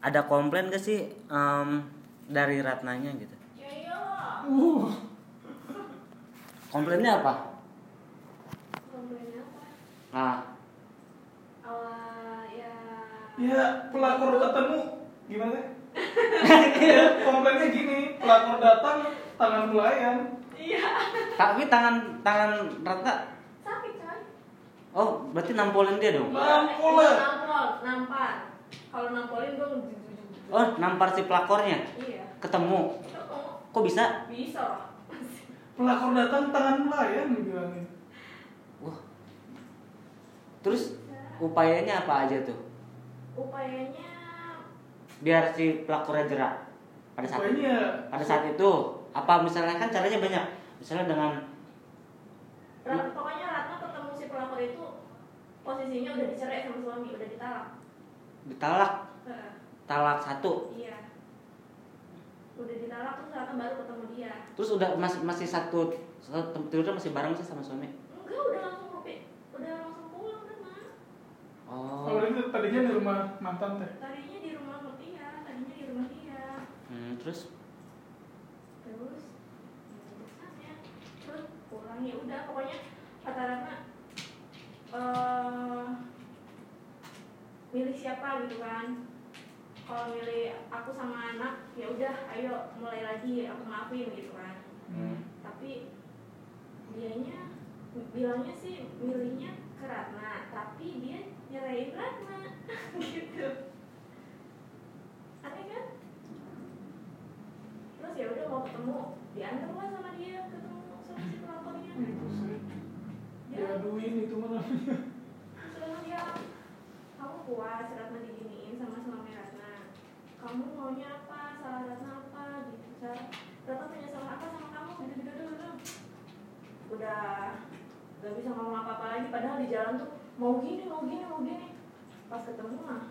ada komplain gak sih em, dari Ratnanya gitu? Ya Uh, Komplainnya apa? Komplainnya apa? Nah, Awal ya. ya pelakor ketemu gimana? ya, komplainnya gini, pelakor datang tangan pelayan. Iya. tapi tangan tangan Ratna Sakit kan? Oh, berarti nampolin dia dong? Nampol. Iya, Nampol, nampar. Kalau nampolin gue Oh, nampar si pelakornya? Iya. Ketemu? Ketemu. Kok bisa? Bisa lah. Pelakor datang tangan pelayan dibilangnya. Wah. Terus upayanya apa aja tuh? Upayanya Biar si pelakornya jerak pada saat itu. Pokoknya Pada saat itu apa misalnya kan caranya banyak. Misalnya dengan Ra- pokoknya Ratna ketemu si pelakor itu posisinya udah dicerai sama suami, udah ditalak. ditalak, Nah, talak satu. iya. Udah ditalak terus Ratna baru ketemu dia. Terus udah mas- masih satu satu tem- tidurnya masih bareng sih sama suami. Enggak, udah langsung rupi. Udah langsung pulang kan, Ma. Oh. kalau itu tadinya di rumah mantan teh. Tadinya di rumah dia, tadinya di rumah dia. Hmm, terus Terus urusan ya. Terus pulang ya udah pokoknya kata Ratna eh milih siapa gitu kan. Kalau milih aku sama anak, ya udah ayo mulai lagi aku maafin gitu kan. Hmm. tapi dianya bilangnya sih milihnya ke Ratna tapi dia nyerahin Ratna gitu aneh kan terus ya udah mau ketemu diantar lah sama dia ketemu sama si pelapornya Hmm. Itu sih. dia Diaduin itu mana? terus dia kamu puas Ratna diginiin sama suami Ratna kamu maunya apa salah Ratna apa gitu Sar. Ratna punya salah apa sama kamu gitu gitu gitu, gitu udah gak bisa ngomong apa apa lagi padahal di jalan tuh mau gini mau gini mau gini pas ketemu mah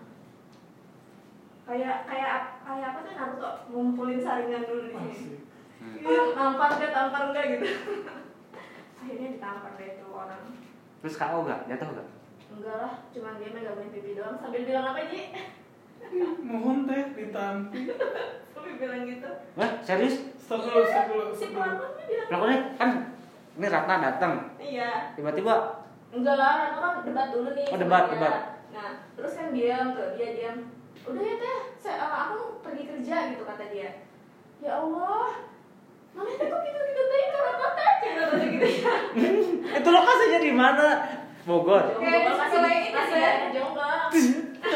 kayak kayak kayak apa tuh Naruto ngumpulin saringan dulu di sini Masih. tampar enggak tampar enggak gitu akhirnya ditampar deh tuh orang terus KO gak? Jatuh gak? Enggak lah, cuman dia megangin pipi doang sambil bilang apa Ji? Mohon teh ditampi. Sambil bilang gitu Wah, serius? Stop dulu, Iya, stop dulu, Si stop dulu. pelakon kan bilang Pelakornya kan ini Ratna datang, Iya tiba-tiba Enggak lah, Rano kan debat dulu nih Oh, debat, sama dia. debat. Nah, terus kan diam tuh, dia diam Udah ya teh, saya, eh, aku pergi kerja gitu kata dia Ya Allah Mami teh kok gitu-gitu teh, karena kata aja katanya gitu ya "Eh, itu lokasinya di mana? Bogor. Kayak Kayaknya masih sesuai ini masih sih ya. ada jombang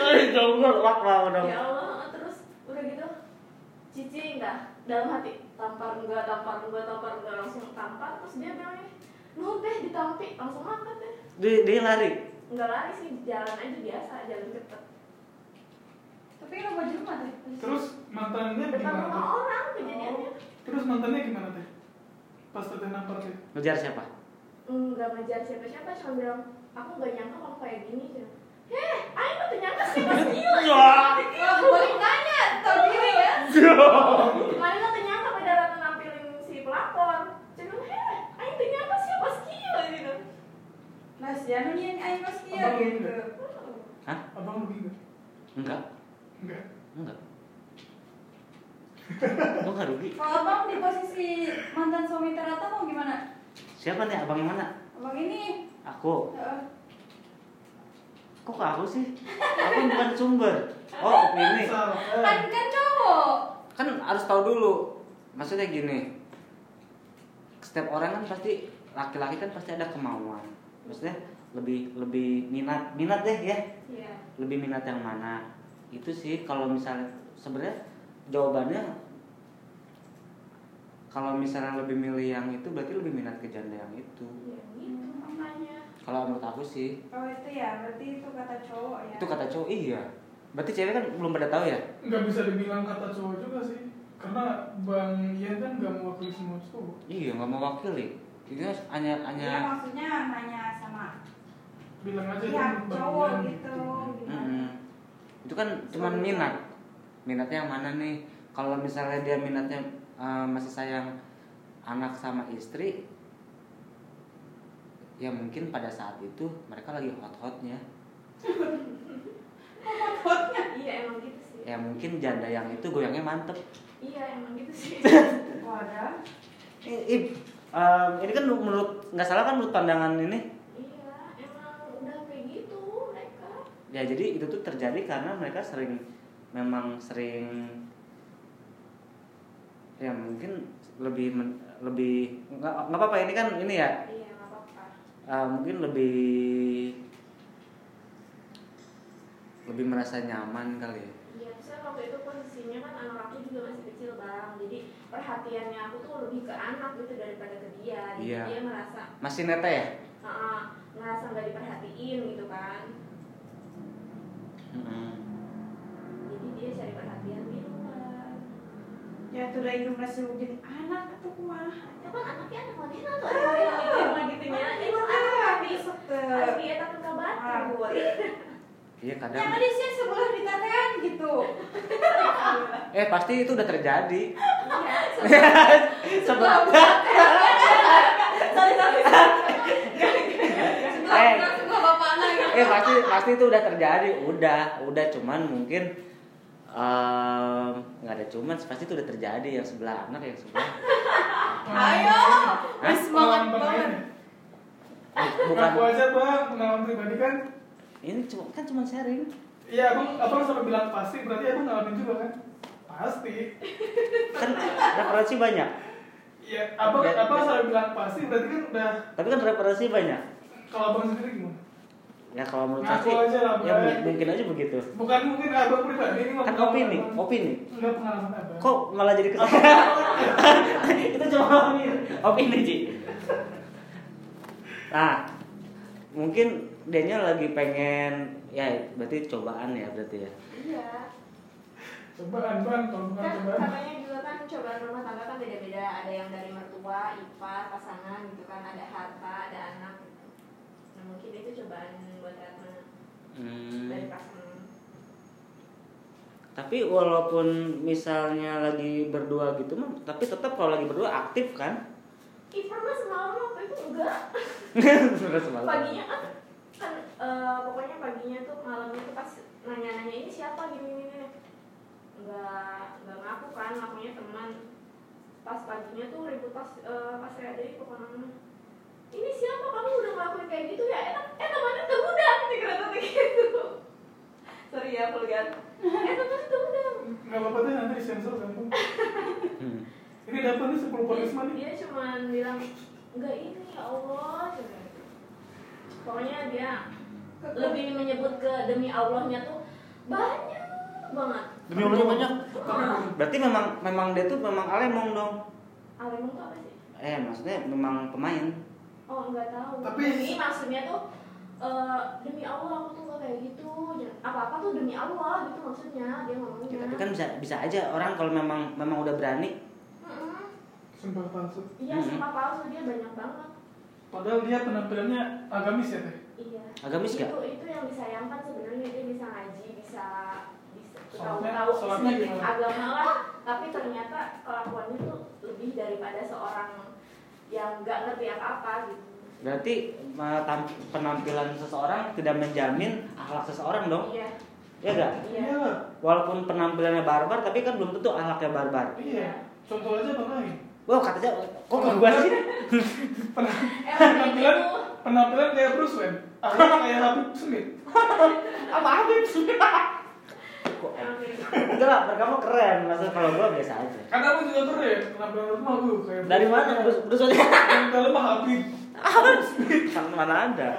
Eh, Jonggol, wak mau dong. ya Allah terus udah gitu cici enggak dalam hati tampar enggak tampar enggak tampar enggak langsung tampar terus dia bilang "Eh, nuhun teh ditampi langsung makan teh Dia, dia lari. enggak lari sih jalan aja biasa jalan cepet Tapi lo baju rumah deh. Terus mantannya depan gimana? rumah teh? orang kejadiannya Terus mantannya gimana teh? Pas teteh nampar teh. Ngejar siapa? enggak ngejar siapa siapa cuma bilang aku enggak nyangka kamu kayak gini sih heh ayo mah ternyata sih masih gila Wah, boleh nanya, tahu diri ya. kemarin kan ternyata pada rata nampilin si pelakon cuma heh ayo ternyata sih pas gila gitu Mas Janu nih ayo Mas Tio Abang gitu. enggak. Hmm. Hah? Abang rugi nggak? Enggak. Enggak. Enggak. Gue nggak rugi. Kalau Abang di posisi mantan suami Terata mau gimana? Siapa nih abang yang mana? Abang ini Aku. eh, Kok ke aku sih? Aku bukan sumber. Oh, opini. Salah. kan Eh, kan cowok. Kan harus tahu dulu. Maksudnya gini. Setiap orang kan pasti laki-laki kan pasti ada kemauan. Maksudnya lebih lebih minat minat deh ya. Iya. lebih minat yang mana itu sih kalau misalnya sebenarnya jawabannya kalau misalnya lebih milih yang itu berarti lebih minat ke janda yang itu Ya gitu makanya. kalau menurut aku sih Oh itu ya, berarti itu kata cowok ya. itu kata cowok iya berarti cewek kan belum pada tahu ya nggak bisa dibilang kata cowok juga sih. Karena Bang Ian kan nggak mewakili semua cowok. iya nggak mewakili itu hanya hanya Iya maksudnya nanya sama Bilang aja pihak kan Bang Iya, cowok Ian. gitu. Gimana? Mm-mm. itu kan cuman minat minatnya yang mana nih kalau misalnya dia minatnya eh, masih sayang anak sama istri ya mungkin pada saat itu mereka lagi hot hotnya Iya emang gitu sih. ya mungkin janda yang itu goyangnya mantep iya emang gitu sih Wadah. I- i- em, ini kan menurut nggak salah kan menurut pandangan ini iya emang udah kayak gitu mereka ya jadi itu tuh terjadi karena mereka sering memang sering ya mungkin lebih men- lebih nggak nggak apa-apa ini kan ini ya iya nggak apa-apa eh, mungkin lebih lebih merasa nyaman kali ya Iya, saya waktu itu posisinya kan anak aku juga masih kecil bang, jadi perhatiannya aku tuh lebih ke anak gitu daripada ke dia. Jadi Iya. dia merasa masih neta ya "Ah, merasa nggak diperhatiin gitu kan, jadi dia cari perhatian di luar. Ya tuh dari masih mungkin anak atau kuah. Itu kan anaknya anak wanita tuh anak yang gitu emang gitunya. Itu anak tapi harus dia takut kabar. iya kadang Yang tadi sih sebelah dikatain gitu. eh pasti itu udah terjadi Iya, Sebelum- Sorry Eh. sorry. Sebelah Eh. sebelah sebelah bapak anak Iya. Kan gitu. eh pasti pasti itu udah terjadi udah udah cuman mungkin em, nggak ada cuman pasti itu udah terjadi yang sebelah anak yang sebelah Nah, Ayo. Wes semangat Pengalaman banget. pribadi. Eh, bukan Aku aja bang, pengalaman pribadi kan. ini cuma kan cuma sharing Iya, abang, abang sampai bilang pasti, berarti abang ngalamin juga kan? Pasti. kan referensi banyak Iya, abang, Iya. abang sampai bilang pasti, berarti kan udah. tapi kan referensi banyak Kalau abang sendiri gimana? ya kalau menurut saya Ngaku sih aja lah, ya Bray. mung- mungkin aja begitu Bukan mungkin abang pribadi ini kan ngomong- opini opini Enggak pengalaman abang. kok malah jadi kes itu cuma opini opini Ji. nah mungkin dianya lagi pengen ya berarti cobaan ya berarti ya Iya. Cobaan bang, kalau bukan Kan cobaan. katanya juga kan cobaan rumah tangga kan beda-beda. Ada yang dari mertua, ipar, pasangan gitu kan. Ada harta, ada anak. gitu. Nah mungkin itu cobaan buat Ratna dari Hmm, pasangan. tapi walaupun misalnya lagi berdua gitu mah tapi tetap kalau lagi berdua aktif kan Ipar mah semalam waktu itu enggak. terus malah Paginya kan kan eh, pokoknya paginya tuh malamnya tuh pas nanya-nanya ini siapa gini gini gini. Enggak enggak ngaku kan, ngakunya teman. Pas paginya tuh ribut pas eh, pas saya dari pokoknya ini siapa kamu udah ngelakuin kayak gitu ya enak eh temannya tuh udah gitu kata gitu sorry ya vulgar eh temannya tuh udah Enggak apa-apa deh, nanti disensor kan. Bang. Hmm. Ini dapat nih 10 poin semua nih. dia cuman bilang enggak ini ya Allah cuman. pokoknya dia lebih menyebut ke demi Allahnya tuh banyak banget demi Allah banyak Iya. berarti memang memang dia tuh memang alemong dong Alemong tuh apa sih eh maksudnya memang pemain oh enggak tahu Tapi- ini maksudnya tuh eh, demi Allah aku tuh gak kayak gitu apa apa tuh demi Allah gitu maksudnya dia ngomongnya Ya, tapi kan bisa bisa aja orang kalau memang memang udah berani Mm-mm. Sumpah palsu. iya Hmm. sumpah palsu dia banyak banget Padahal dia penampilannya agamis ya teh. iya Agamis itu nggak? itu yang disayangkan sebenarnya dia bisa ngaji bisa bisa tahu Sholatnya- tahu sholatnya gimana? agama lah tapi ternyata kelakuannya tuh lebih daripada seorang yang nggak ngerti apa apa gitu berarti eh, tam- penampilan seseorang tidak menjamin akhlak seseorang dong iya ya enggak iya Iya lah. walaupun penampilannya barbar tapi kan belum tentu akhlaknya barbar Iya. Contoh aja bang lain. wow katanya kok ke Oh, gua sih Penamp- Eh, Penampilan, itu. penampilan kayak Bruce Wayne. Akhirnya kayak Habib Smith. apa Habib kok emang kayak gitu. enggak lah mereka mah keren maksudnya kalau gua biasa aja Karena aku juga keren. ya, Penampilan rumah gue kayak. dari mana terus terus aja Penampilan mah Habib. Kan mana ada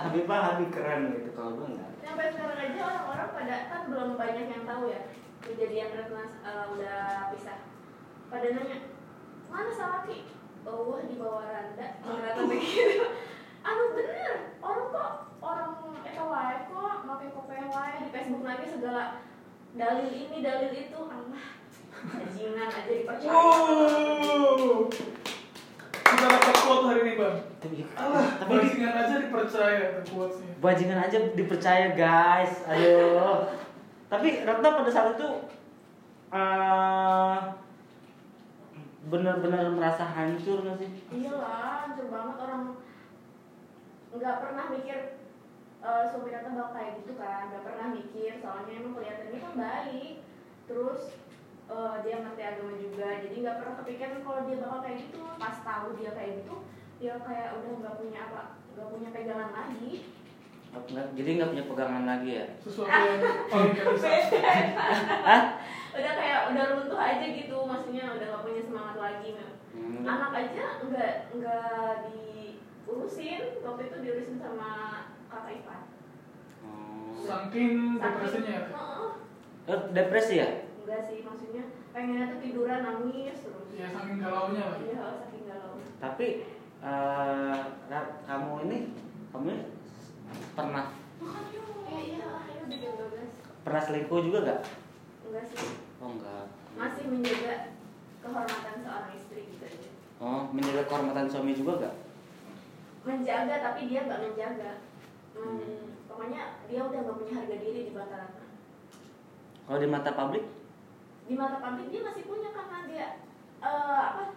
Habib mah Habib keren gitu kalau gua enggak sampai sekarang aja orang-orang pada kan belum banyak yang tahu ya kejadian Ratna eh, udah pisah pada nanya mana Salaki oh di bawah randa ternyata begitu aduh bener orang kok orang eta wae kok pakai kopeh wae di Facebook lagi segala dalil ini dalil itu Allah bajingan aja dipercaya Wow. Kita dapat quote hari ini bang. tapi Allah, tapi di- bajingan aja dipercaya tuh quotesnya. bajingan aja dipercaya guys aduh tapi Ratna pada saat itu eh, bener-bener merasa hancur nggak sih iyalah hancur banget orang nggak pernah mikir eh, suami Ratna bakal kayak gitu kan gak pernah mikir soalnya emang kelihatannya kan baik terus eh, dia ngerti agama juga jadi nggak pernah kepikiran kalau dia bakal kayak gitu pas tahu dia kayak gitu dia kayak udah nggak punya apa nggak punya pegangan lagi Oh, nggak- jadi nggak punya pegangan lagi ya sesuatu yang organisasi udah kayak udah runtuh aja gitu maksudnya udah nggak punya semangat lagi Hmm. anak aja nggak nggak diurusin waktu itu diurusin sama kakak ipar Oh. saking Saking- depresinya ya Heeh. Eh, depresi ya enggak sih maksudnya pengennya tuh tiduran nangis terus ya saking galaunya lah iya saking galau tapi eh, Ra- kamu ini kamu ini pernah makan yuk iya iya ayo bikin gelas pernah selingkuh juga nggak enggak sih oh enggak masih menjaga kehormatan seorang istri gitu aja oh menjaga kehormatan suami juga nggak menjaga tapi dia nggak menjaga Hmm, pokoknya dia udah nggak punya harga diri di mata Ratna. kalau di mata publik di mata publik dia masih punya karena dia eh, apa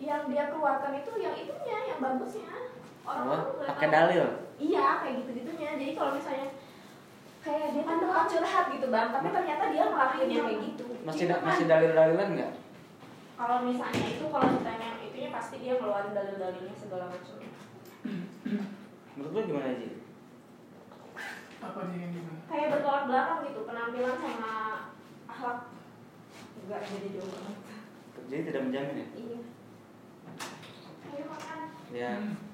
yang dia keluarkan itu yang itunya yang bagusnya orang-orang oh nggak pakai tahu. dalil iya kayak gitu gitunya jadi kalau misalnya kayak dia kan bakal curhat gitu bang tapi ternyata dia ngelakuinnya kayak gitu masih Gitu da- kan. masih dalil-dalilan nggak kalau misalnya itu kalau ditanya itunya pasti dia ngeluarin dalil-dalilnya segala macam menurut lu gimana sih apa nih yang gimana kayak bertolak belakang gitu penampilan sama akhlak nggak jadi jauh banget jadi tidak menjamin ya iya ayo makan ya Hmm.